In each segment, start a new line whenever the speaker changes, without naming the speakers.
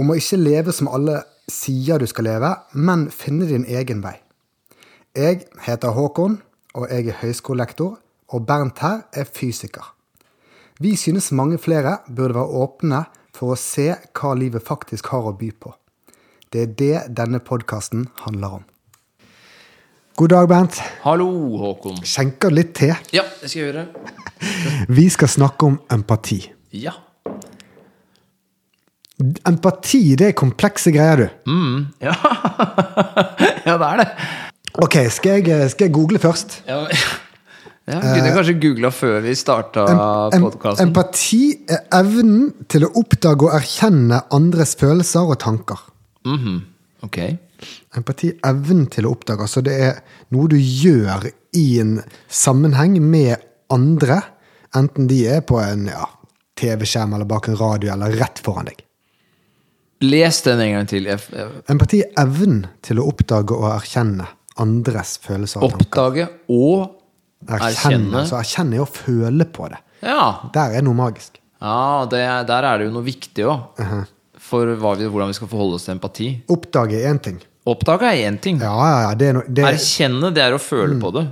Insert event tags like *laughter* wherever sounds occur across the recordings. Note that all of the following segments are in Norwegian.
Om å ikke leve som alle sier du skal leve, men finne din egen vei. Jeg heter Håkon, og jeg er høyskolelektor, og Bernt her er fysiker. Vi synes mange flere burde være åpne for å se hva livet faktisk har å by på. Det er det denne podkasten handler om. God dag, Bernt.
Hallo, Håkon.
Skjenker litt te.
Ja, det skal jeg gjøre.
Vi skal snakke om empati.
Ja.
Empati, det er komplekse greier, du.
Ja, *laughs* ja det er det.
Ok, skal jeg, skal jeg google først?
Ja, *laughs* ja, vi kunne kanskje googla før vi starta
Eh, Em-
podkasten.
empati er evnen til å oppdage og erkjenne andres følelser og tanker.
Mhm, Ok.
Empati er evnen til å oppdage. Altså det er noe du gjør i en sammenheng med andre, enten de er på en ja, TV-skjerm eller bak en radio eller rett foran deg.
Les den en gang til. Jeg- jeg-
Empati er evnen til å oppdage og erkjenne andres følelser og tanker.
Oppdage og
Erkjenne.
erkjenne.
Så erkjenne er å føle på det.
Ja,
Der er noe magisk.
ja det, er- der er det jo noe viktig òg. For hva vi, hvordan vi skal forholde oss til empati.
Oppdage er én ting.
Oppdage er én ting.
Ja, Mm. ja, ja. Det er no, det,
Erkjenne, det er å føle på det.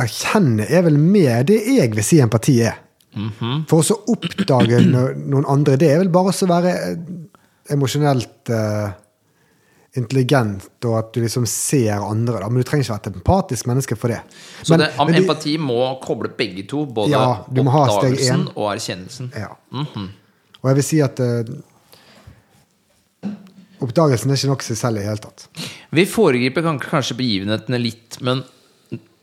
erkjenne er vel mer det jeg vil si empati er.
Mhm.
For å så oppdage no, noen andre, det er vel bare å være eh, emosjonelt eh, intelligent, og at du liksom ser andre, da. Men du trenger ikke være et empatisk menneske for det.
Så
Men-
det, am-
men de-
empati må koble begge to. Både
Ja, du må ha steg
oppdagelsen og erkjennelsen.
Ja.
Mhm.
Og jeg vil si at eh, oppdagelsen er ikke nok seg selv i det hele tatt.
Vi foregriper kan- kanskje begivenhetene litt, men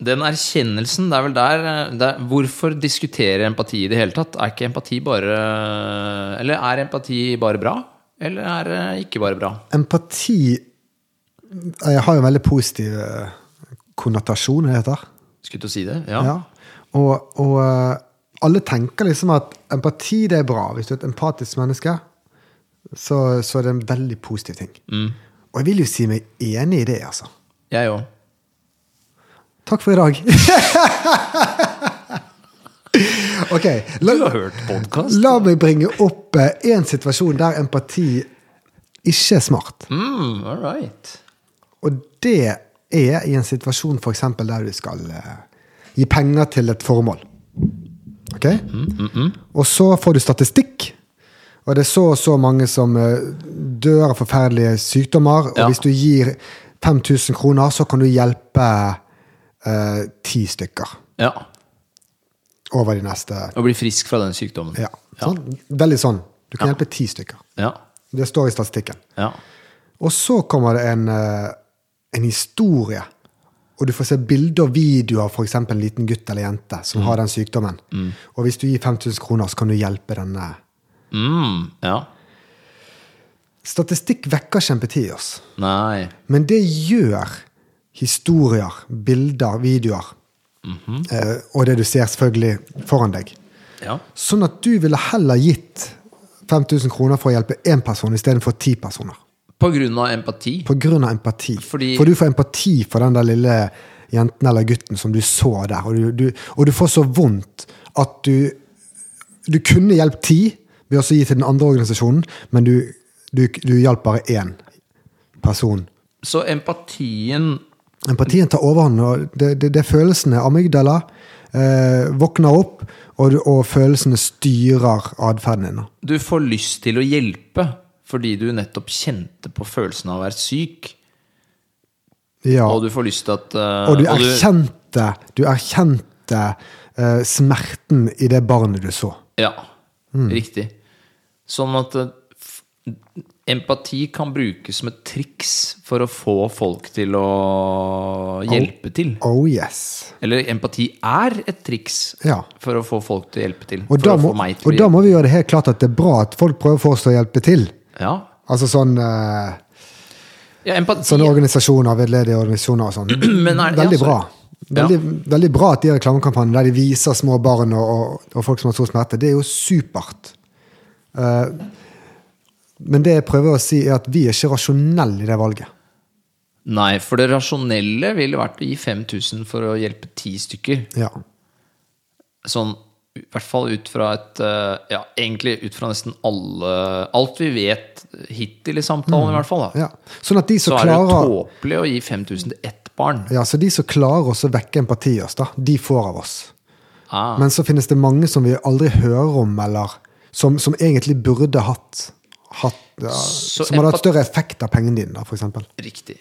den erkjennelsen, det er vel der, eh, der Hvorfor diskutere empati i det hele tatt? Er ikke empati bare Eller er empati bare bra? Eller er det ikke bare bra?
Empati jeg har jo en veldig positiv eh, konnotasjon, er det heter.
Skulle til å si det? Ja.
Ja. Og, og eh, alle tenker liksom at empati, det er bra. Hvis du er et empatisk menneske, så, så er det en veldig positiv ting.
Mm.
Og jeg vil jo si meg enig i det, altså.
Jeg òg.
Takk for i dag. *laughs* ok. La,
Du har hørt altså. podkast?
la meg bringe opp eh, en situasjon der empati ikke er smart.
Mm, all right.
Og det er i en situasjon for eksempel der du skal eh, gi penger til et formål. Ok?
Mm.
Og så får du statistikk. Og det er så og så mange som eh, dør av forferdelige sykdommer. Og
Ja.
hvis du gir 5000 kroner, så kan du hjelpe eh, ti stykker
Ja.
over de neste
Å bli frisk fra den sykdommen.
Ja. Sånn, veldig sånn. Du kan hjelpe ti stykker.
Ja.
Det står i statistikken.
ja.
Og så kommer det en, eh, en historie, og du får se bilder og videoer av f.eks. en liten gutt eller jente som har den sykdommen. Og hvis du gir 5000 kroner, så kan du hjelpe denne.
Mm, ja.
Statistikk vekker ikke empati i oss,
Nei.
men det gjør historier, bilder, videoer, eh, og det du ser selvfølgelig foran deg.
Ja.
Sånn at du ville heller gitt 5000 kroner for å hjelpe én person istedenfor ti personer.
På grunn av empati.
På grunn av empati.
Fordi-
For du får empati for den der lille jenten eller gutten som du så der. Og du, du, og du får så vondt at du Du kunne hjulpet ti ved også å gi til den andre organisasjonen, men du, du, du hjalp bare én person.
Så empatien
Empatien tar overhånd, og det, det, det er følelsene. Amygdala eh, våkner opp, og, du, og følelsene styrer atferden din. da.
du får lyst til å hjelpe fordi du nettopp kjente på følelsen av å være syk.
Ja.
Og du får lyst til at eh,
Og du erkjente, du erkjente eh, smerten i det barnet du så.
Ja,
Mm.
riktig. Sånn at eh, f- empati kan brukes som et triks for å få folk til å hjelpe til.
Oh yes.
Eller empati er et triks
Ja.
for å få folk til å hjelpe til.
Og,
for
da
å
må,
få meg til
og
å
da
hjelpe.
må vi gjøre det helt klart at det er bra at folk prøver for oss å hjelpe til.
Ja.
Altså sånn, eh,
Ja, empati
sånne organisasjoner, veldedige organisasjoner og sånn.
*clears throat* Men er- ja,
Veldig
så-
bra.
Ja.
Veldig, veldig bra at de har reklamekampanjer der de viser små barn og, og, og folk som har stor smerte. Det er jo supert. Eh, men det jeg prøver å si, er at vi er ikke rasjonelle i det valget.
Nei, for det rasjonelle ville vært å gi 5000 for å hjelpe ti stykker.
Ja.
Sånn, i hvert fall ut fra et eh, Ja, egentlig ut fra nesten alle Alt vi vet hittil i samtalen, i hvert fall. da
Mm. Ja. Sånn at de som
Så er det jo
klarer
tåpelig å gi 5000 til ett barn.
ja, så de som klarer oss å vekke empati i oss, da, de får av oss.
Ah.
Men så finnes det mange som vi aldri hører om, eller som, som egentlig burde hatt, hatt ja,
Så
Som hadde hatt
empat-
større effekt av pengene dine, da, for eksempel.
Riktig.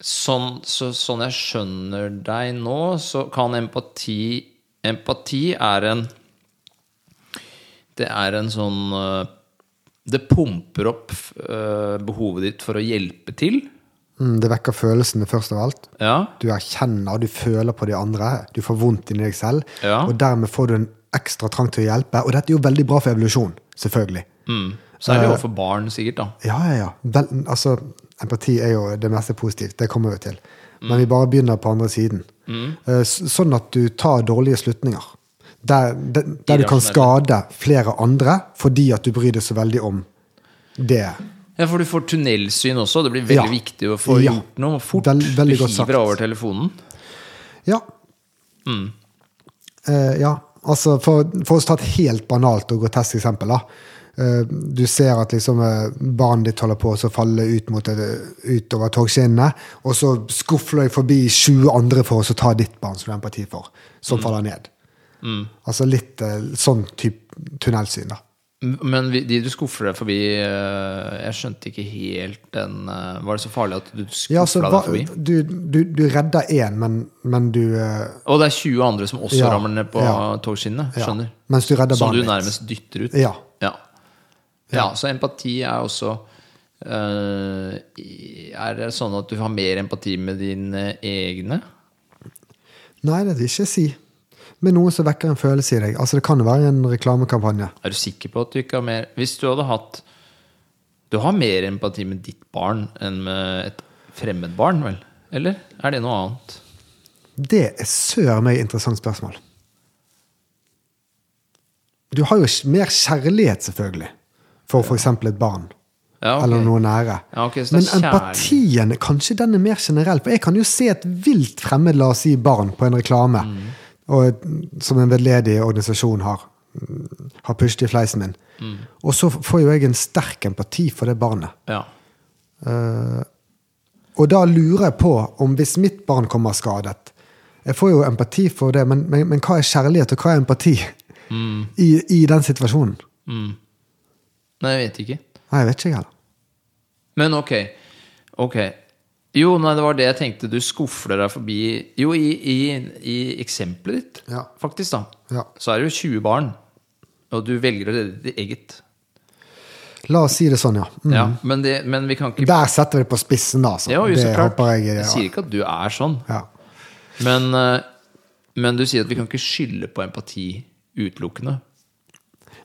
Sånn, så, sånn jeg skjønner deg nå, så kan empati Empati er en Det er en sånn øh, Det pumper opp øh, behovet ditt for å hjelpe til.
Mm, det vekker følelsene først av alt.
Ja.
Du erkjenner, du føler på de andre, du får vondt inni deg selv.
Ja.
Og dermed får du en ekstra trang til å hjelpe. Og dette er jo veldig bra for evolusjon, selvfølgelig.
Mm. Særlig
Eh.
overfor barn, sikkert. da
Ja, ja, ja. Vel, altså, empati er jo det meste positivt, det kommer vi til. Men vi bare begynner på andre siden.
Mm.
Eh, s- Sånn at du tar dårlige slutninger. Der, der, der du kan skade flere andre fordi at du bryr deg så veldig om det.
Ja, For du får tunnelsyn også. Det blir veldig
Ja.
viktig å få
Ja.
gjort noe fort.
Vel- veldig
du
godt sagt.
hiver over telefonen.
Ja.
Mm.
Eh, ja. Altså, for, for å ta et helt banalt og grotesk eksempel, da. Eh, du ser at liksom, eh, barnet ditt holder på å så falle ut mot et- utover togskinnene, og så skufler jeg forbi 20 andre for å så ta ditt barn som du har empati for, som
Mm.
faller ned. Altså litt eh, sånn type tunnelsyn, da.
Men vi- de du skuffer deg forbi eh, Jeg skjønte ikke helt den eh, Var det så farlig at du skuffa
Ja, altså,
deg
hva,
forbi?
du, du, du redder én, men, men du eh,
Og det er 20 andre som også
Ja,
ramler ned på
ja.
togskinnene.
ja,
Skjønner.
Mens du redder
Som
barnet
du
ditt.
nærmest dytter ut.
Ja.
Ja. Ja, så empati er også eh, i- Er det sånn at du har mer empati med dine egne?
Nei, det vil jeg ikke si. Men noe som vekker en følelse i deg. Altså, Det kan jo være en reklamekampanje.
Er du sikker på at du ikke har mer Hvis du hadde hatt Du har mer empati med ditt barn enn med et fremmed barn, vel? Eller er det noe annet?
Det er sør meg et interessant spørsmål. Du har jo kj- mer kjærlighet, selvfølgelig, for f.eks. et barn.
Ja, ok.
Eller noe nære.
Ja, ok, så det er
Men
kjærlighet.
empatien, kanskje den er mer generell. For jeg kan jo se et vilt fremmed, la oss si, barn på en reklame
Mm.
og, et- som en veldedig organisasjon har, har pushet i fleisen min.
Mm.
Og så får jo jeg en sterk empati for det barnet.
Ja.
Eh, Og da lurer jeg på om hvis mitt barn kommer skadet Jeg får jo empati for det, men, men, men hva er kjærlighet, og hva er empati
Mm.
i, i den situasjonen?
Nei, jeg vet ikke.
Nei, jeg vet ikke, jeg heller.
Men ok. Ok. Jo, nei, det var det jeg tenkte. Du skufler deg forbi Jo, i, i, i eksempelet ditt,
Ja.
faktisk, da,
Ja.
så er det jo 20 barn. Og du velger å redde ditt eget.
La oss si det sånn, ja. Mm.
Ja, men, det, men vi kan ikke
Der setter vi det på spissen, da. Altså.
Ja, jo, så
det
klart.
håper jeg
Jeg sier
ja.
ikke at du er sånn.
Ja.
Men, eh, men du sier at vi kan ikke skylde på empati utelukkende.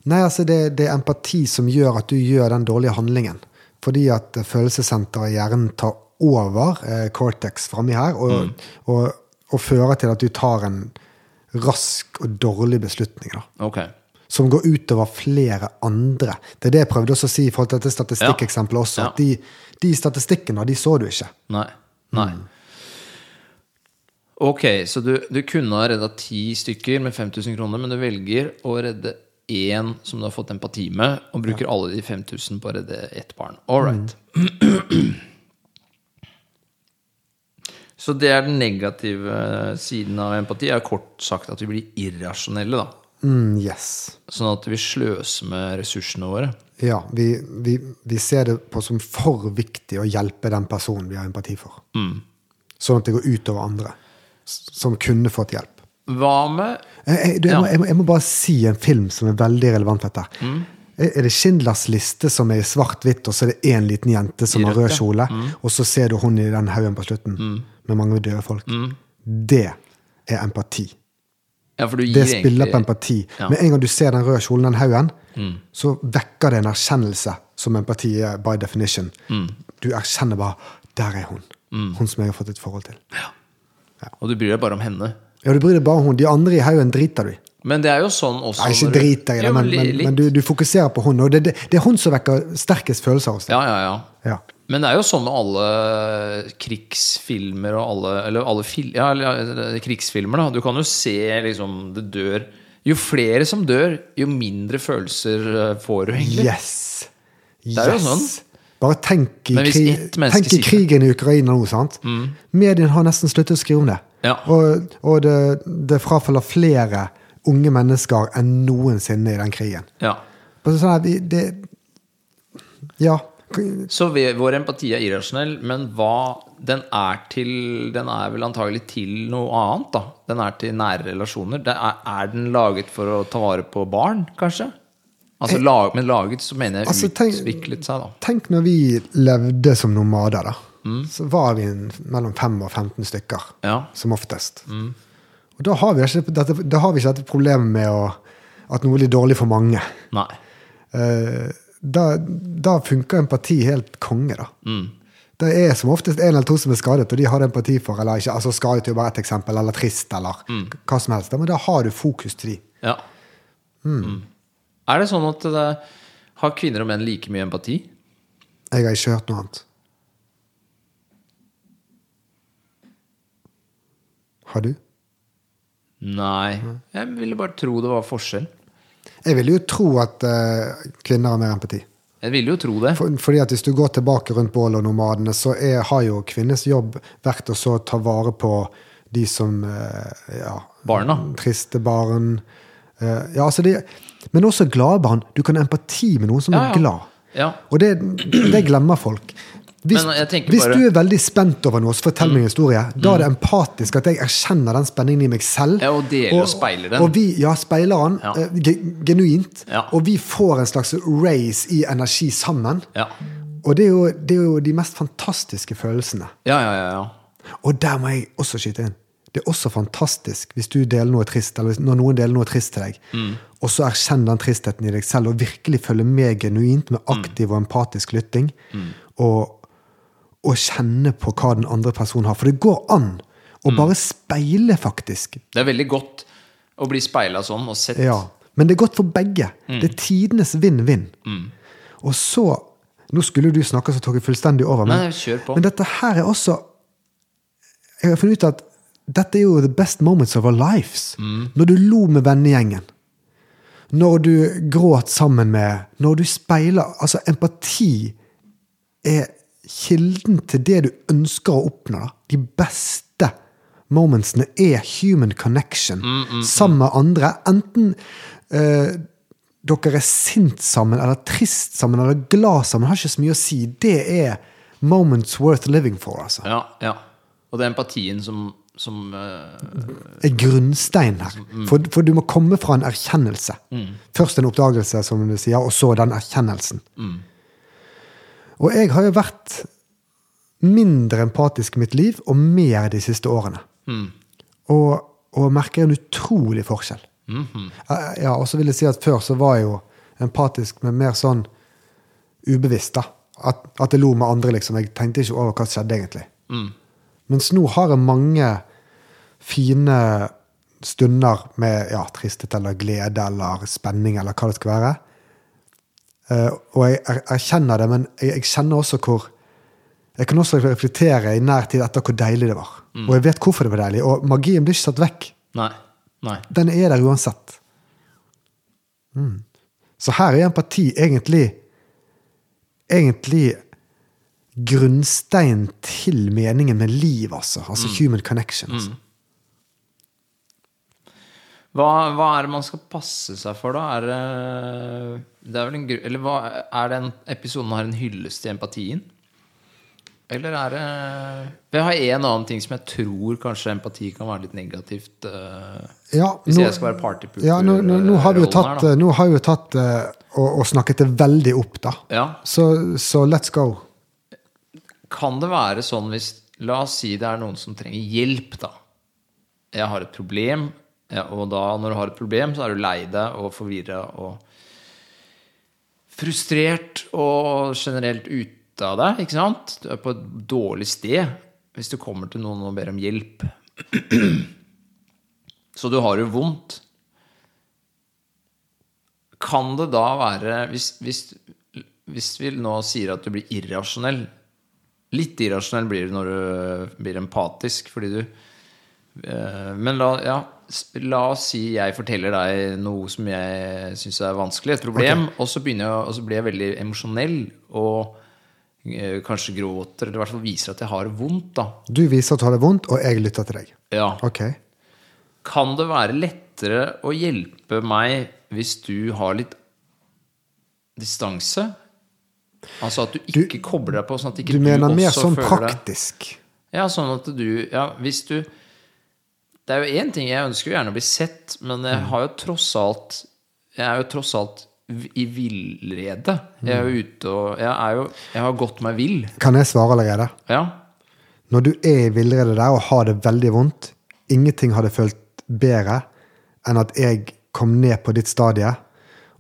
Nei, altså, det, det er empati som gjør at du gjør den dårlige handlingen. Fordi at eh, følelsessenteret i hjernen tar over eh, cortex framme her, og, og, og fører til at du tar en rask og dårlig beslutning. da.
Ok.
som går utover flere andre. Det er det jeg prøvde også å si i forhold til dette statistikkeksemplet også.
Ja.
At de, de statistikkene, de så du ikke.
Nei. Nei. Ok, så du, du kunne ha redda ti stykker med 5000 kroner, men du velger å redde én som du har fått empati med, og bruker alle de 5000 på å redde ett barn. All right. *clears throat* Så det er den negative eh, siden av empati. er kort sagt at vi blir irrasjonelle. da
Mm, yes.
Sånn at vi sløser med ressursene våre.
Ja, vi, vi, vi ser det på som for viktig å hjelpe den personen vi har empati for. Sånn at det går utover andre s- som kunne fått hjelp.
Hva med
Jeg, jeg, du, jeg, må, jeg, må, jeg må bare si en film som er veldig relevant for dette. Eh, Er er det Schindlers liste som er i svart-hvitt, og så er det én liten jente som har rød kjole, og så ser du hun i den haugen på slutten med mange døde folk? Det er empati.
Ja, for du gir
Det spiller
egentlig-
på empati.
Ja. Mm.
Med en gang du ser den røde kjolen, den haugen, så vekker det en erkjennelse, som empati er by definition.
Mm.
Du erkjenner bare 'der er hun'. Hun som jeg har fått et forhold til.
Og du bryr deg bare om henne.
Ja, Du bryr deg bare om hun. De andre i haugen driter du i.
Men det er jo sånn også
Nei, ikke
når du-
driter i
Jo,
det, men,
li-
men,
litt.
men du, du fokuserer på hun. Og det, det, det er hun som vekker sterkest følelser hos deg.
Ja, ja, ja.
Ja.
Men det er jo sånn med alle krigsfilmer og alle Eller alle fil, ja, eller, ja, krigsfilmer, da. Du kan jo se liksom det dør Jo flere som dør, jo mindre følelser eh, får du, egentlig.
Yes! Yes!
er jo sånn.
Bare tenk i,
Men hvis
krig,
ett menneske
tenk i
sier det. Mm.
krigen i Ukraina nå, sant? Medien har nesten sluttet å skrive om det.
Ja.
Og, og det, det frafaller flere unge mennesker enn noensinne i den krigen.
Ja.
Bare sånn her, vi- det, ja.
Så vi, vår empati er irrasjonell, men hva Den er til Den er vel antagelig til noe annet, da. Den er til nære relasjoner. Det er, er den laget for å ta vare på barn, kanskje? Altså, lag, men laget så mener jeg
Eh, Altså, tenk-
utviklet seg, da.
Tenk når vi levde som nomader, da. Så var vi en, mellom 5 og 15 stykker,
Mm. Ja. Mm.
som oftest. Og da har, vi ikke dette, da har vi ikke dette problemet med å, at noe blir dårlig for mange.
Nei.
Eh, da, da funker empati helt konge, da. Det er som oftest en eller to som er skadet, og de har det empati for. eller ikke, altså Skadet er jo bare et eksempel, eller trist, eller hva som helst. Men da har du fokus til de.
Ja.
Hmm.
Mm. Er det sånn at det, har kvinner og menn like mye empati?
Jeg har ikke hørt noe annet. Har du?
Nei.
Hmm.
Jeg ville bare tro det var forskjell.
Jeg ville jo tro at eh, kvinner har mer empati.
Jeg ville jo tro det.
For, fordi at Hvis du går tilbake rundt bålet og nomadene, så er, har jo kvinnes jobb vært å så ta vare på de som eh, ja,
Barna.
triste barn. Eh, ja, altså det, men også glade barn. Du kan ha empati med noen som
Ja, ja.
er glad.
Ja.
Og det, det glemmer folk. Hvis,
Men jeg tenker
hvis
bare- Mm.
du er veldig spent over noe, så fortell meg en historie. Da er det empatisk at jeg erkjenner den spenningen i meg selv.
Ja, og deler og speiler den.
Og vi, ja, speiler den
Ja.
eh, ge- genuint.
Ja.
Og vi får en slags race i energi sammen.
Ja.
Og det er, jo, det er jo de mest fantastiske følelsene.
Ja, ja, ja. ja.
Og der må jeg også skyte inn. Det er også fantastisk hvis du deler noe trist, eller hvis- når noen deler noe trist til deg, og så erkjenn den tristheten i deg selv, og virkelig følge med genuint med aktiv og empatisk lytting, og, og kjenne på hva den andre personen har. For det går an å bare speile, faktisk.
Det er veldig godt å bli speila sånn og sett.
Ja, Men det er godt for begge. Det er tidenes vinn-vinn. Og så Nå skulle jo du snakke, så tok jeg fullstendig over. Men,
Nei, kjør på.
Mm. men dette her er også Jeg har funnet ut at dette er jo the best moments of our lives. Når du lo med vennegjengen. Når du gråt sammen med Når du speiler Altså, empati er kilden til det du ønsker å oppnå. Da. De beste momentsene er human connection. Sammen med andre. Enten eh, dere er sint sammen, eller trist sammen, eller glad sammen. Har ikke så mye å si. Det er moments worth living for, altså.
Ja, ja. Og det er empatien som, som eh,
er grunnstein her. For, for du må komme fra en erkjennelse. Først en oppdagelse, som du sier, og så den erkjennelsen. Og jeg har jo vært mindre empatisk i mitt liv, og mer de siste årene. Og, og merker en utrolig forskjell. Eh, Ja, og så vil jeg si at før så var jeg jo empatisk, men mer sånn ubevisst, da. At, at jeg lo med andre, liksom. Jeg tenkte ikke over hva som skjedde, egentlig. Mens nå har jeg mange fine stunder med ja, tristhet eller glede eller spenning eller hva det skal være. Eh, og jeg er- erkjenner det, men jeg, jeg kjenner også hvor Jeg kan også reflektere i nær tid etter hvor deilig det var.
Mm.
Og jeg vet hvorfor det var deilig. Og magien blir ikke satt vekk.
Nei. Nei.
Den er der uansett. Mm. Så her er empati egentlig Egentlig grunnstein til meningen med liv, altså. Altså
Mm.
human connection. Altså.
Hva, hva er det man skal passe seg for, da? Er det, det er vel en gru... Eller hva, er den episoden har en hyllest til empatien? Eller er det Jeg har en annen ting som jeg tror kanskje empati kan være litt negativt. eh,
Ja,
hvis
nå-
jeg skal være partypooper.
Ja, nå, nå, nå har vi jo
rollen her,
tatt,
da.
eh, nå har vi jo tatt eh, og, og snakket det veldig opp, da.
Ja.
Så, så let's go.
Kan det være sånn hvis La oss si det er noen som trenger hjelp, da. Jeg har et problem. Ja, og da, når du har et problem, så er du lei deg og forvirra og frustrert og generelt ute av deg. ikke sant? Du er på et dårlig sted hvis du kommer til noen og ber om hjelp. Så du har det vondt. Kan det da være Hvis, hvis, hvis vi nå sier at du blir irrasjonell Litt irrasjonell blir du når du blir empatisk, fordi du Eh, Men la, ja, s- la oss si jeg forteller deg noe som jeg syns er vanskelig, et problem, og, så begynner jeg, og så blir jeg veldig emosjonell og eh, kanskje gråter, eller i hvert fall viser at jeg har det vondt. da.
Du viser at du har det vondt, og jeg lytter til deg.
Ja.
Ok.
Kan det være lettere å hjelpe meg hvis du har litt distanse? Altså at du ikke kobler deg på, sånn at ikke
Du
du,
mener mer
også
sånn
føler deg
praktisk.
Ja, sånn at du Ja, hvis du Det er jo én ting jeg ønsker jo gjerne å bli sett, men jeg har jo tross alt Jeg er jo tross alt v- i villrede. Jeg er jo ute og Jeg, er jo, jeg har gått meg vill.
Kan jeg svare allerede?
Ja.
Når du er i villrede der og har det veldig vondt, ingenting hadde følt bedre enn at jeg kom ned på ditt stadie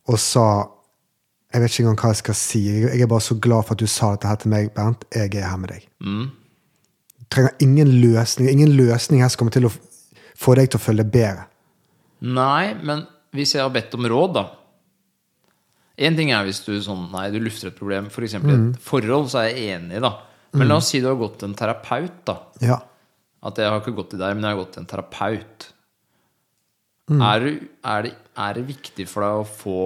og sa Jeg vet ikke engang hva jeg skal si. Jeg jeg er bare så glad for at du sa dette her til meg, Bernt. Jeg er her med deg. Du trenger ingen løsning. Ingen løsning her som kommer til å f- få deg til å føle deg bedre.
Nei, men hvis jeg har bedt om råd, da Én ting er hvis du sånn Nei, du lufter et problem, f.eks. i et forhold, så er jeg enig, da. Men la oss si du har gått til en terapeut, da.
Ja.
At jeg har ikke gått til deg, men jeg har gått til en terapeut. Er, du, er, det, er det viktig for deg å få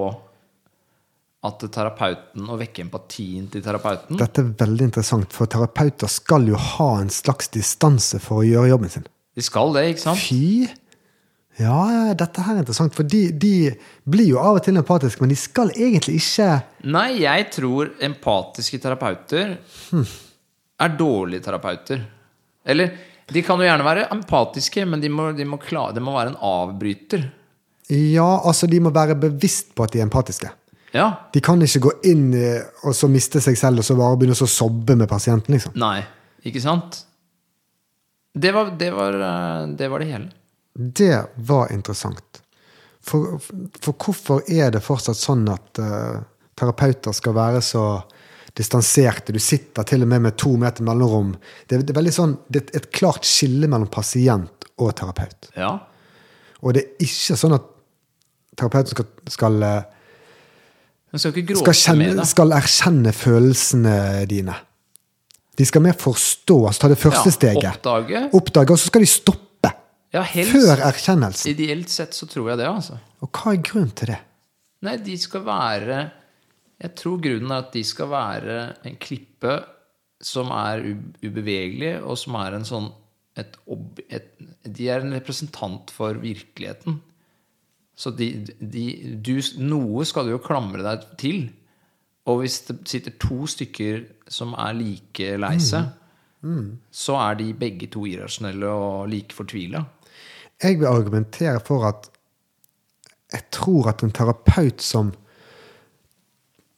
at terapeuten Å vekke empatien til terapeuten?
Dette er veldig interessant, for terapeuter skal jo ha en slags distanse for å gjøre jobben sin.
De skal det, ikke sant?
Fy! Ja, ja, dette her er interessant, for de, de blir jo av og til empatiske, men de skal egentlig ikke
Nei, jeg tror empatiske terapeuter er dårlige terapeuter. Eller de kan jo gjerne være empatiske, men de må, de må, kla- de må være en avbryter.
Ja, altså, de må være bevisst på at de er empatiske.
Ja.
De kan ikke gå inn eh, og så miste seg selv og så bare begynne å så sobbe med pasienten, liksom.
Nei. Ikke sant? Det var det, var, eh, det, var det hele.
Det var interessant. For, for hvorfor er det fortsatt sånn at eh, terapeuter skal være så distanserte? Du sitter til og med med to meter mellomrom. Det, er- det er veldig sånn, det er et klart skille mellom pasient og terapeut.
Ja.
Og det er ikke sånn at terapeuten skal, skal, eh,
Hun skal ikke
skal,
gråte med
kjenne,
deg.
skal erkjenne følelsene dine. De skal mer forstå, altså ta det første steget.
Oppdage.
Oppdage, og så skal de stoppe.
Ja, helst.
Før erkjennelsen.
Ideelt sett så tror jeg det, altså.
Og hva er grunnen til det?
Nei, de skal være Jeg tror grunnen er at de skal være en klippe som er u- ubevegelig, og som er en sånn et, ob- et, De er en representant for virkeligheten. Så de, de du, Noe skal du jo klamre deg til. Og hvis det sitter to stykker som er like lei seg, så er de begge to irrasjonelle og like fortvila.
Jeg vil argumentere for at jeg tror at en terapeut som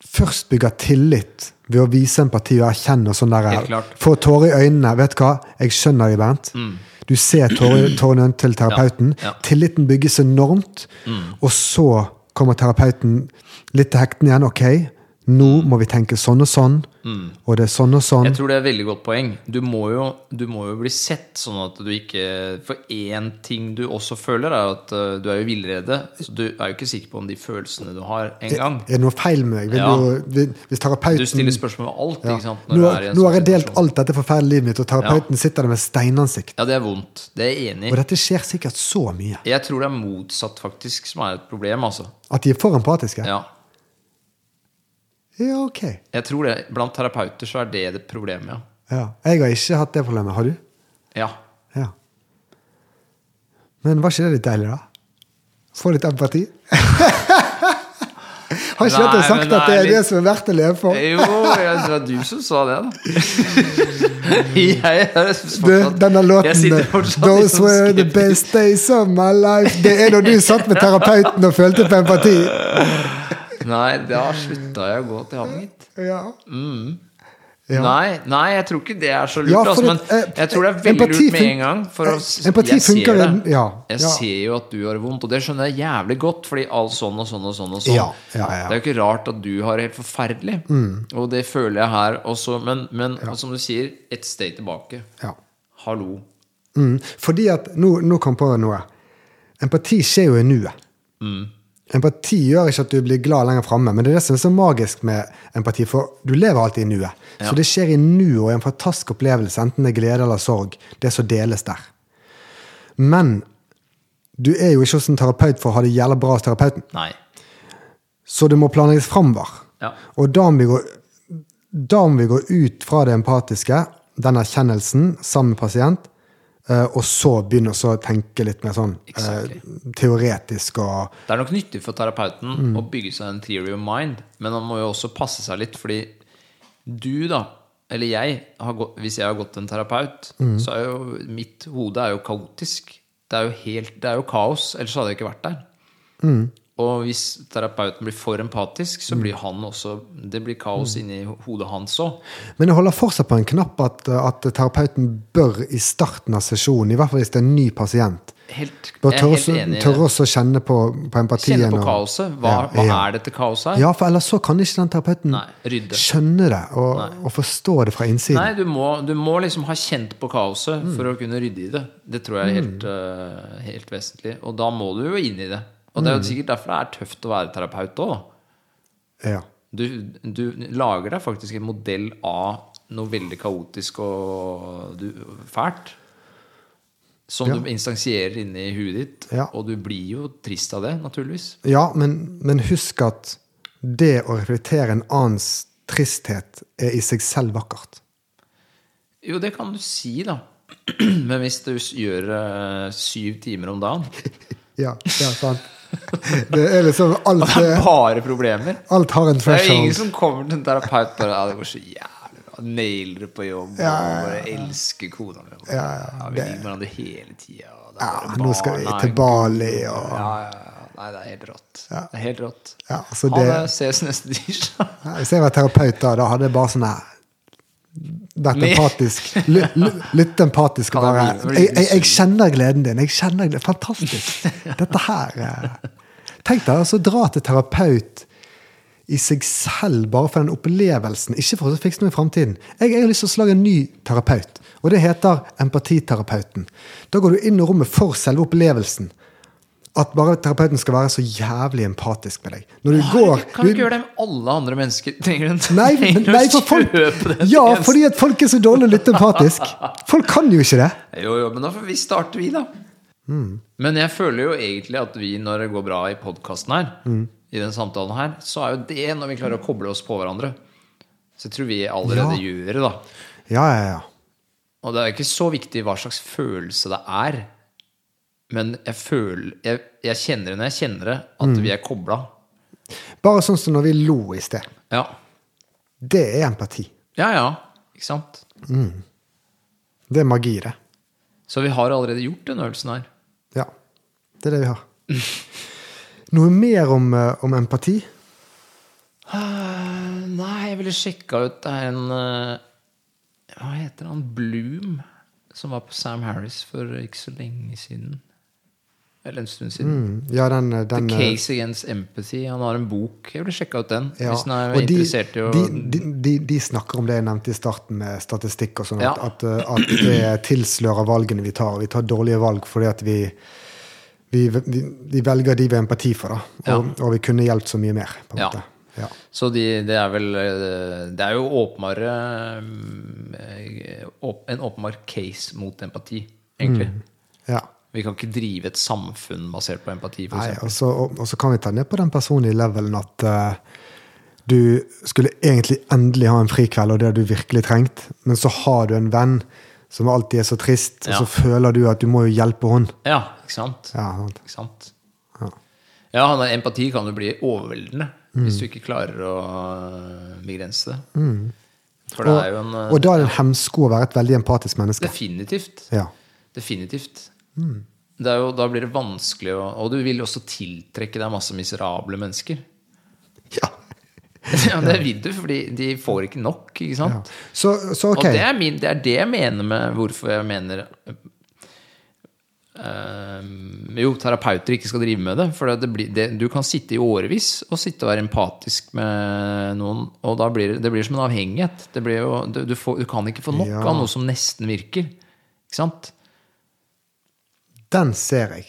først bygger tillit ved å vise empati og erkjenne og sånn
Helt
der,
klart. Mm.
Får tårer i øynene. Vet du hva? Jeg skjønner deg, Bernt. Du ser
*clears throat*
tårer tårene i øynene til terapeuten.
Ja, Mm. ja.
Tilliten bygges enormt. Og så kommer terapeuten litt til hektene igjen. Ok, nå må vi tenke sånn og sånn. Og det er sånn og sånn.
Mm. Jeg tror det er et veldig godt poeng. Du må, jo, du må jo bli sett, sånn at du ikke For én ting du også føler, er at eh, du er jo villrede, så du er jo ikke sikker på om de følelsene du har, en gang.
Er det noe feil med meg? Vil
Ja.
du, vil, hvis
Du
terapeuten
stiller spørsmål ved alt, ikke sant?
Nå,
du er i en
nå
sånn
har jeg delt
situasjon.
alt dette forferdelige livet mitt, og terapeuten sitter der med steinansikt.
Ja, det er vondt. Det er jeg enig
Og
i.
dette skjer sikkert så mye.
Jeg tror det er motsatt, faktisk, som er et problem, altså.
At de er for empatiske?
Ja.
Ja, ok.
Jeg tror det. Blant terapeuter så er det det problemet, ja.
Ja. Jeg har ikke hatt det problemet. Har du?
Ja.
Ja. Men var ikke det litt deilig, da? Få litt empati? *laughs* har ikke
Nei,
dere
men
sagt
det
at det
er
er det
litt-
som er verdt å leve for?
Jo, jeg, det var du som sa det,
*laughs*
da. *laughs* Jeg er
Du,
fortsatt
denne
jeg
låten
sitter fortsatt i
Those
sånn
were the
skeptisk-
best days of my life Det er når du satt med terapeuten og følte på empati.
Nei, da slutta jeg å gå til han, gitt.
Ja. Ja.
Nei, nei, jeg tror ikke det er så lurt.
Ja, for
altså, men
at, eh,
jeg tror det er veldig
empati
lurt med
fun-
en gang. For å, s-
Eh, empati
jeg ser
funker
det.
i- ja,
jeg
ja.
ser jo at du har vondt, og det skjønner jeg jævlig godt. Fordi alt sånn og sånn og sånn. Og sånn.
Ja, ja, ja. Mm.
Det er jo ikke rart at du har det helt forferdelig. Og det føler jeg her også. Men, men og som du sier, et steg tilbake.
Ja.
Hallo.
Mm. Fordi at nå, nå kom jeg på noe. Empati skjer jo i nuet. Empati gjør ikke at du blir glad lenger framme, men det er det som er så magisk med empati, for du lever alltid i nuet. Så det skjer i nuet og er en fantastisk opplevelse, enten det er glede eller sorg. Det som deles der. Men du er jo ikke hos en terapeut for å ha det jævla bra hos terapeuten,
Nei.
så det må planlegges framover.
Ja.
Og da må, vi gå, da må vi gå ut fra det empatiske, den erkjennelsen, sammen med pasient, eh, og så begynne også å tenke litt mer sånn eh,
Exactly.
teoretisk og
Det er nok nyttig for terapeuten
Mm.
å bygge seg en theory of mind, men han må jo også passe seg litt, fordi du, da, eller jeg, har gått, hvis jeg har gått til en terapeut,
Mm.
så er jo mitt hode er jo kaotisk. Det er jo, helt, det er jo kaos, ellers hadde jeg ikke vært der.
Mm.
Og hvis terapeuten blir for empatisk, så blir han også Det blir kaos
Mm.
inni hodet hans òg.
Men jeg holder fortsatt på en knapp at, at terapeuten bør i starten av sesjonen, i hvert fall hvis det er en ny pasient,
Helt, jeg
bør
er
tørre
helt
også,
enig. i det.
tørre også å kjenne på, på empatien.
Kjenne på
og-
kaoset. Hva, hva
ja.
er dette kaoset her?
Ja, for ellers så kan ikke den terapeuten
Nei, rydde.
skjønne det og, og forstå det fra innsiden.
Nei, du må, du må liksom ha kjent på kaoset for å kunne rydde i det. Det tror jeg er helt, eh, helt vesentlig. Og da må du jo inn i det. Og det er jo sikkert derfor det er tøft å være terapeut òg.
Ja.
Du, du lager deg faktisk en modell av noe veldig kaotisk og du, fælt. Som du instansierer inni huet ditt.
Ja.
Og du blir jo trist av det, naturligvis.
Ja, men, men husk at det å reflektere en annens tristhet er i seg selv vakkert.
Jo, det kan du si, da. *clears throat* Men hvis du s- gjør eh, syv timer om dagen,
Ja, det er
*laughs*
sant. Det er liksom alt,
det
eh,
er bare problemer.
alt har en
Det er jo ingen
threshold.
som kommer til en terapeut bare Ja, det går så jævlig bra. Nailer det på jobb.
Ja,
Og bare elsker kona mi.
Ja, ja,
vi liker hverandre hele tida. og det er
Ja,
bare
nå skal vi
barna,
til Bali og
Ja, ja, ja. Nei, det er helt rått. Det er helt rått.
ja, så
Ha
det,
det. Ses neste tirsdag.
Ja, Hvis jeg var terapeut da, da hadde jeg bare sånn her Vært
Mer.
empatisk. Ly- ly- Litt empatisk og
Kan
bare
jeg bli- bli
jeg, jeg, jeg
sur?
kjenner gleden din. Jeg kjenner gleden. Fantastisk.
*laughs*
Dette her eh. Tenk deg altså å dra til terapeut i seg selv bare for den opplevelsen. Ikke for å fikse noe i framtiden. Jeg, jeg har lyst til å slage en ny terapeut, og det heter empatiterapeuten. Da går du inn i rommet for selve opplevelsen. At bare terapeuten skal være så jævlig empatisk med deg. Når du går
Kan
du-
du ikke gjøre det med alle andre mennesker? Trenger du
Nei,
*laughs*
men,
trenger du å
nei for folk,
kjøpe den
ja,
tjenesten?
fordi at folk er så dårlig litt empatisk. Folk kan jo ikke det.
Jo, jo, men da får vi starte, vi, da. Men jeg føler jo egentlig at vi, når det går bra i podkasten her, i den samtalen her, så er jo det når vi klarer å koble oss på hverandre. Så jeg tror vi allerede
Ja.
gjør det, da.
Ja, ja, ja.
Og det er ikke så viktig hva slags følelse det er. Men jeg føler Jeg, jeg kjenner det når jeg kjenner det, at vi er kobla.
Bare sånn som når vi lo i sted.
Ja.
Det er empati.
ja, ja. Ikke sant?
Det er magi, det.
Så vi har allerede gjort den øvelsen her.
Ja. Det er det vi har. Noe mer om, eh, om empati?
Eh, Nei, jeg ville sjekka ut Det er en eh, Hva heter han? Bloom? Som var på Sam Harris for ikke så lenge siden. Eller en stund siden.
Mm, Ja, den, eh, den eh,
Case Against Empathy. Han har en bok. Jeg ville sjekka ut den.
ja.
Hvis den er
Og de,
interessert i å
de, de, de, de snakker om det jeg nevnte i starten, med statistikk og sånn, at,
Ja.
at, eh, at det tilslører valgene vi tar. Vi tar dårlige valg fordi at vi vi, vi, vi velger de vi har empati for, da. Og, og vi kunne hjulpet så mye mer. på en
Ja.
måte. Ja.
Så de, det er vel eh, Det er jo åpenbare mm, eh, åp- En åpenbar case mot empati, egentlig.
Mm. Ja.
Vi kan ikke drive et samfunn basert på empati,
Nei,
f.eks.
og, så, og, og så kan vi ta ned på den personlige levelen at eh, du skulle egentlig endelig ha en frikveld, og det har du virkelig trengt, men så har du en venn som alltid er så trist, og
Ja.
så føler du at du må jo hjelpe henne.
Ja, ikke sant?
Ja, sant.
Ikke sant?
Ja. Mm.
Ja, han er- empati kan jo bli overveldende hvis du ikke klarer å øh, begrense det. For det er jo en øh,
Mm. Og da er det en hemsko å være et veldig empatisk menneske.
Definitivt.
Ja.
Definitivt.
Mm.
Det er jo, da blir det vanskelig å Og du vil jo også tiltrekke deg masse miserable mennesker.
ja.
*laughs* Ja, det vil du, fordi de får ikke nok, ikke sant?
Ja. Så, så ok.
Og det er, min, det er det jeg mener med hvorfor jeg mener eh, Jo, terapeuter ikke skal drive med det. For det blir, det, du kan sitte i årevis og sitte og være empatisk med noen, og da blir det, det blir som en avhengighet. Det blir jo, du, du, får, du kan ikke få nok
Ja.
av noe som nesten virker. Ikke sant?
Den ser jeg.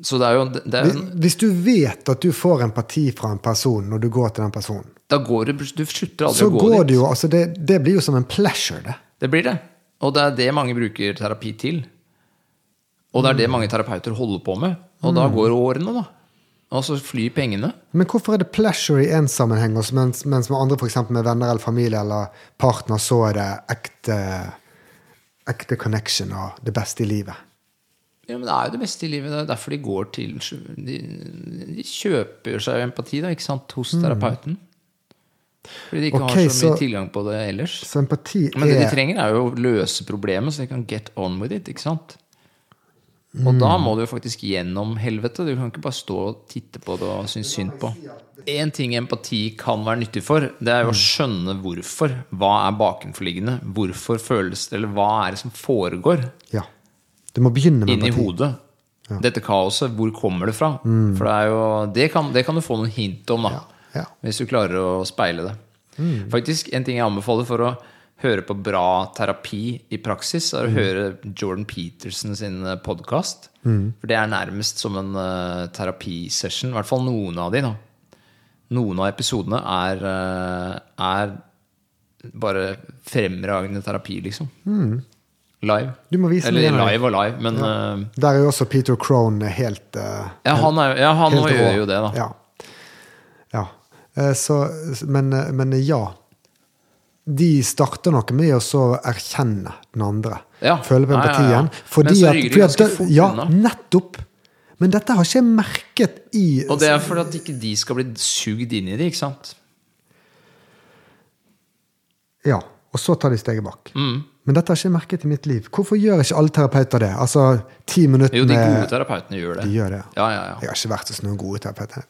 Så det er jo det er,
Hvis,
jo-
hvis du vet at du får empati fra en person når du går til den personen,
Da går du Du slutter aldri
så
å gå
går
dit.
det jo altså det, det blir jo som en pleasure, det.
Det blir det. Og det er det mange bruker terapi til. Og det er det mange terapeuter holder på med. Og da går årene, da. Og så flyr pengene.
Men hvorfor er det pleasure i én sammenheng, også, mens, mens med andre, f.eks. med venner eller familie eller partner, så er det ekte, ekte connection og det beste i livet?
Ja, men Det er jo det beste i livet. Det er derfor de går til De, de kjøper seg empati da, ikke sant, hos terapeuten. Fordi de ikke
Ok,
har Mm. så mye
så-
tilgang på det ellers.
Så empati
Men det de
er
trenger, er jo å løse problemet, så de kan get on with it. ikke sant? Og da
Mm.
må du jo faktisk gjennom helvete. Du kan ikke bare stå og titte på det og synes synd på. Én ting empati kan være nyttig for, det
Mm.
er jo å skjønne hvorfor. Hva er bakenforliggende? Hvorfor føles det, eller hva er det som foregår?
Ja. Du må begynne med
Inni
empati.
hodet. Dette kaoset, hvor kommer det fra? For det, er jo, det, kan, det kan du få noen hint om, da.
Mm. Ja, ja.
Hvis du klarer å speile det.
Mm.
Faktisk, En ting jeg anbefaler for å høre på bra terapi i praksis, er
Mm.
å høre Jordan Peterson sin podkast.
Mm.
For det er nærmest som en eh, terapisession. I hvert fall noen av de, da. Noen av episodene er, eh, er bare fremragende terapi, liksom. Live.
Mm. Du må vise meg
Eller
en av de.
live og live, men eh,
Der er jo også Peter Crone helt eh,
ja, han, er, ja, han
Helt rå.
gjør jo det, da.
Ja. ja. Eh, Så, men, eh, men ja. De starter noe med å så erkjenne den andre.
Ja.
Føle på
Ja, ja, ja.
empatien. Fordi
Men så
at,
rygger de
fordi at
ganske fort
ja,
unna.
nettopp! Men dette har ikke jeg merket i
Og det er for at ikke de skal bli sugd inn i det, ikke sant?
Ja, Og så tar de steget bak.
Mm.
Men dette har ikke jeg merket i mitt liv. Hvorfor gjør ikke alle terapeuter det? Altså, ti minutter
Jo, de gode
med
terapeutene gjør det.
De gjør det,
ja. Ja, ja,
Jeg har ikke vært hos noen gode terapeuter.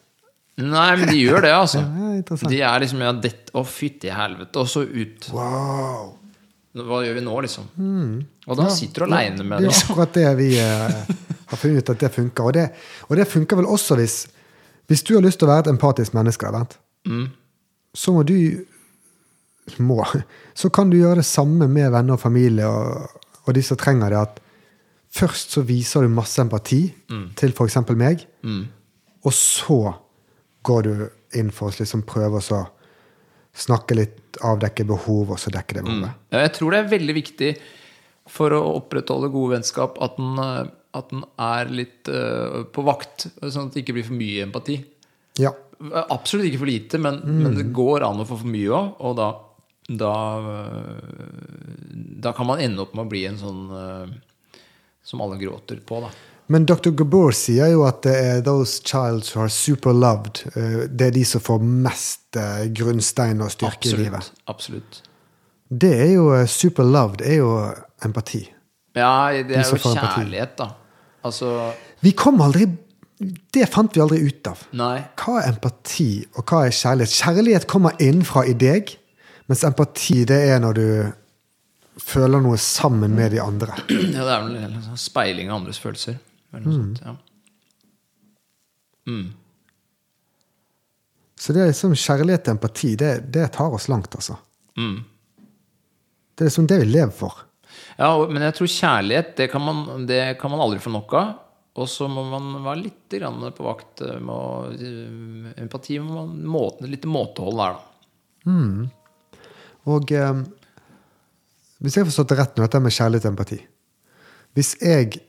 Nei, men de gjør det, altså.
*laughs* Ja, det er interessant.
de er liksom ja, dette, Å, fytti helvete, og så ut.
Wow!
Hva gjør vi nå, liksom?
Mm.
Og da sitter du aleine med
det.
det. liksom.
er akkurat det vi eh, har funnet ut at det funker. Og det, og det funker vel også hvis, hvis du har lyst til å være et empatisk menneske, da, Bernt,
Mm.
så må du må, Så kan du gjøre det samme med venner og familie og, og de som trenger det. at Først så viser du masse empati
Mm.
til f.eks. meg, og så går du inn for å liksom prøve å så snakke litt, avdekke behov, og så dekke det behovet.
Ja, jeg tror det er veldig viktig for å opprettholde gode vennskap at den, eh, at den er litt eh, på vakt, sånn at det ikke blir for mye empati.
Ja.
Absolutt ikke for lite, men,
Mm.
men det går an å få for mye òg. Og da, da øh, Da kan man ende opp med å bli en sånn øh, som alle gråter på, da.
Men Dr. Gabor sier jo at det er those child who are super loved. eh, Det er de som får mest eh, grunnstein og styrke i livet.
Absolutt. absolutt.
Det er jo eh, super loved, er jo empati.
Ja, det er
som
jo
får empati.
kjærlighet, da. Altså
Vi kom aldri Det fant vi aldri ut av.
Nei. *clears throat*
Hva er empati, og hva er kjærlighet? Kjærlighet kommer innenfra i deg, mens empati det er når du føler noe sammen med de andre.
Ja, det er vel en sånn speiling av andres følelser. Eller noe
Mm.
sånt, ja.
Så det er liksom kjærlighet og empati, det, det tar oss langt, altså.
Mm.
Det er liksom det vi lever for.
Ja, og- men jeg tror kjærlighet, det kan man, det kan man aldri få nok av. Og så må man være litt grann på vakt eh, med å, eh, empati. Må man, måte, litt måtehold der, da.
Og eh, hvis jeg har forstått det rett nå, dette med kjærlighet og empati Hvis jeg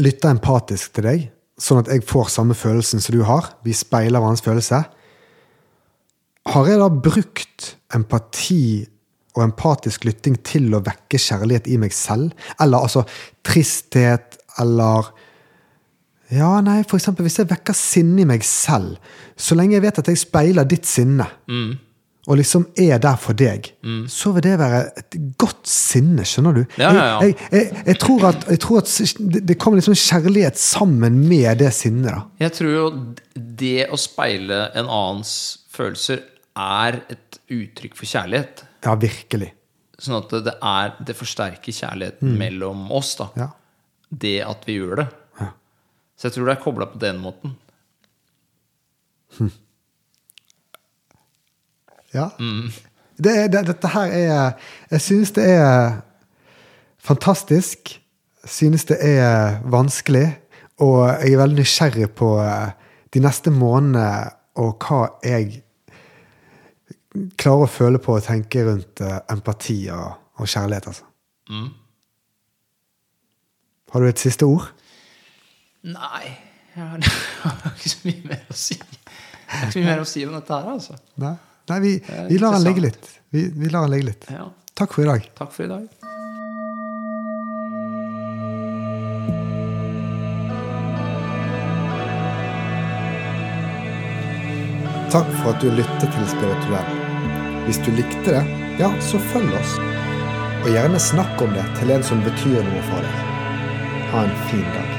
lytter empatisk til deg, sånn at jeg får samme følelsen som du har, vi speiler hverandres følelse, har jeg da brukt empati og empatisk lytting til å vekke kjærlighet i meg selv? Eller altså tristhet, eller ja, nei, for
Mm.
eksempel hvis jeg vekker sinne i meg selv, så lenge jeg vet at jeg speiler ditt sinne, og liksom er der for deg, så vil det være et godt sinne, skjønner du?
Ja, ja, ja.
Jeg, jeg, jeg, jeg tror at, jeg tror at s- det- det kommer liksom kjærlighet sammen med det sinnet, da.
Jeg tror jo det å speile en annens følelser er et uttrykk for kjærlighet.
Ja, virkelig.
Sånn at det, er, det forsterker kjærligheten mellom oss. da.
Ja.
Det at vi gjør det. Så jeg tror det er kobla på den måten.
Ja. Det, er- det, dette her er Jeg synes det er fantastisk. Synes det er vanskelig. Og jeg er veldig nysgjerrig på eh, de neste månedene og hva jeg klarer å føle på og tenke rundt eh, empati og, og kjærlighet, altså. Har du et siste ord?
Nei, jeg har, *laughs* jeg har ikke så mye mer å si. Jeg har ikke så mye mer å si om dette her, altså.
Nei? Nei, vi,
er
vi lar den ligge
interessant.
litt. Vi, vi lar den ligge litt.
Ja,
Takk for i dag.
takk for i dag.
Takk for at du lyttet til Spirituell. Hvis du likte det, ja, så følg oss. Og gjerne snakk om det til en som betyr noe for deg. Ha en fin dag.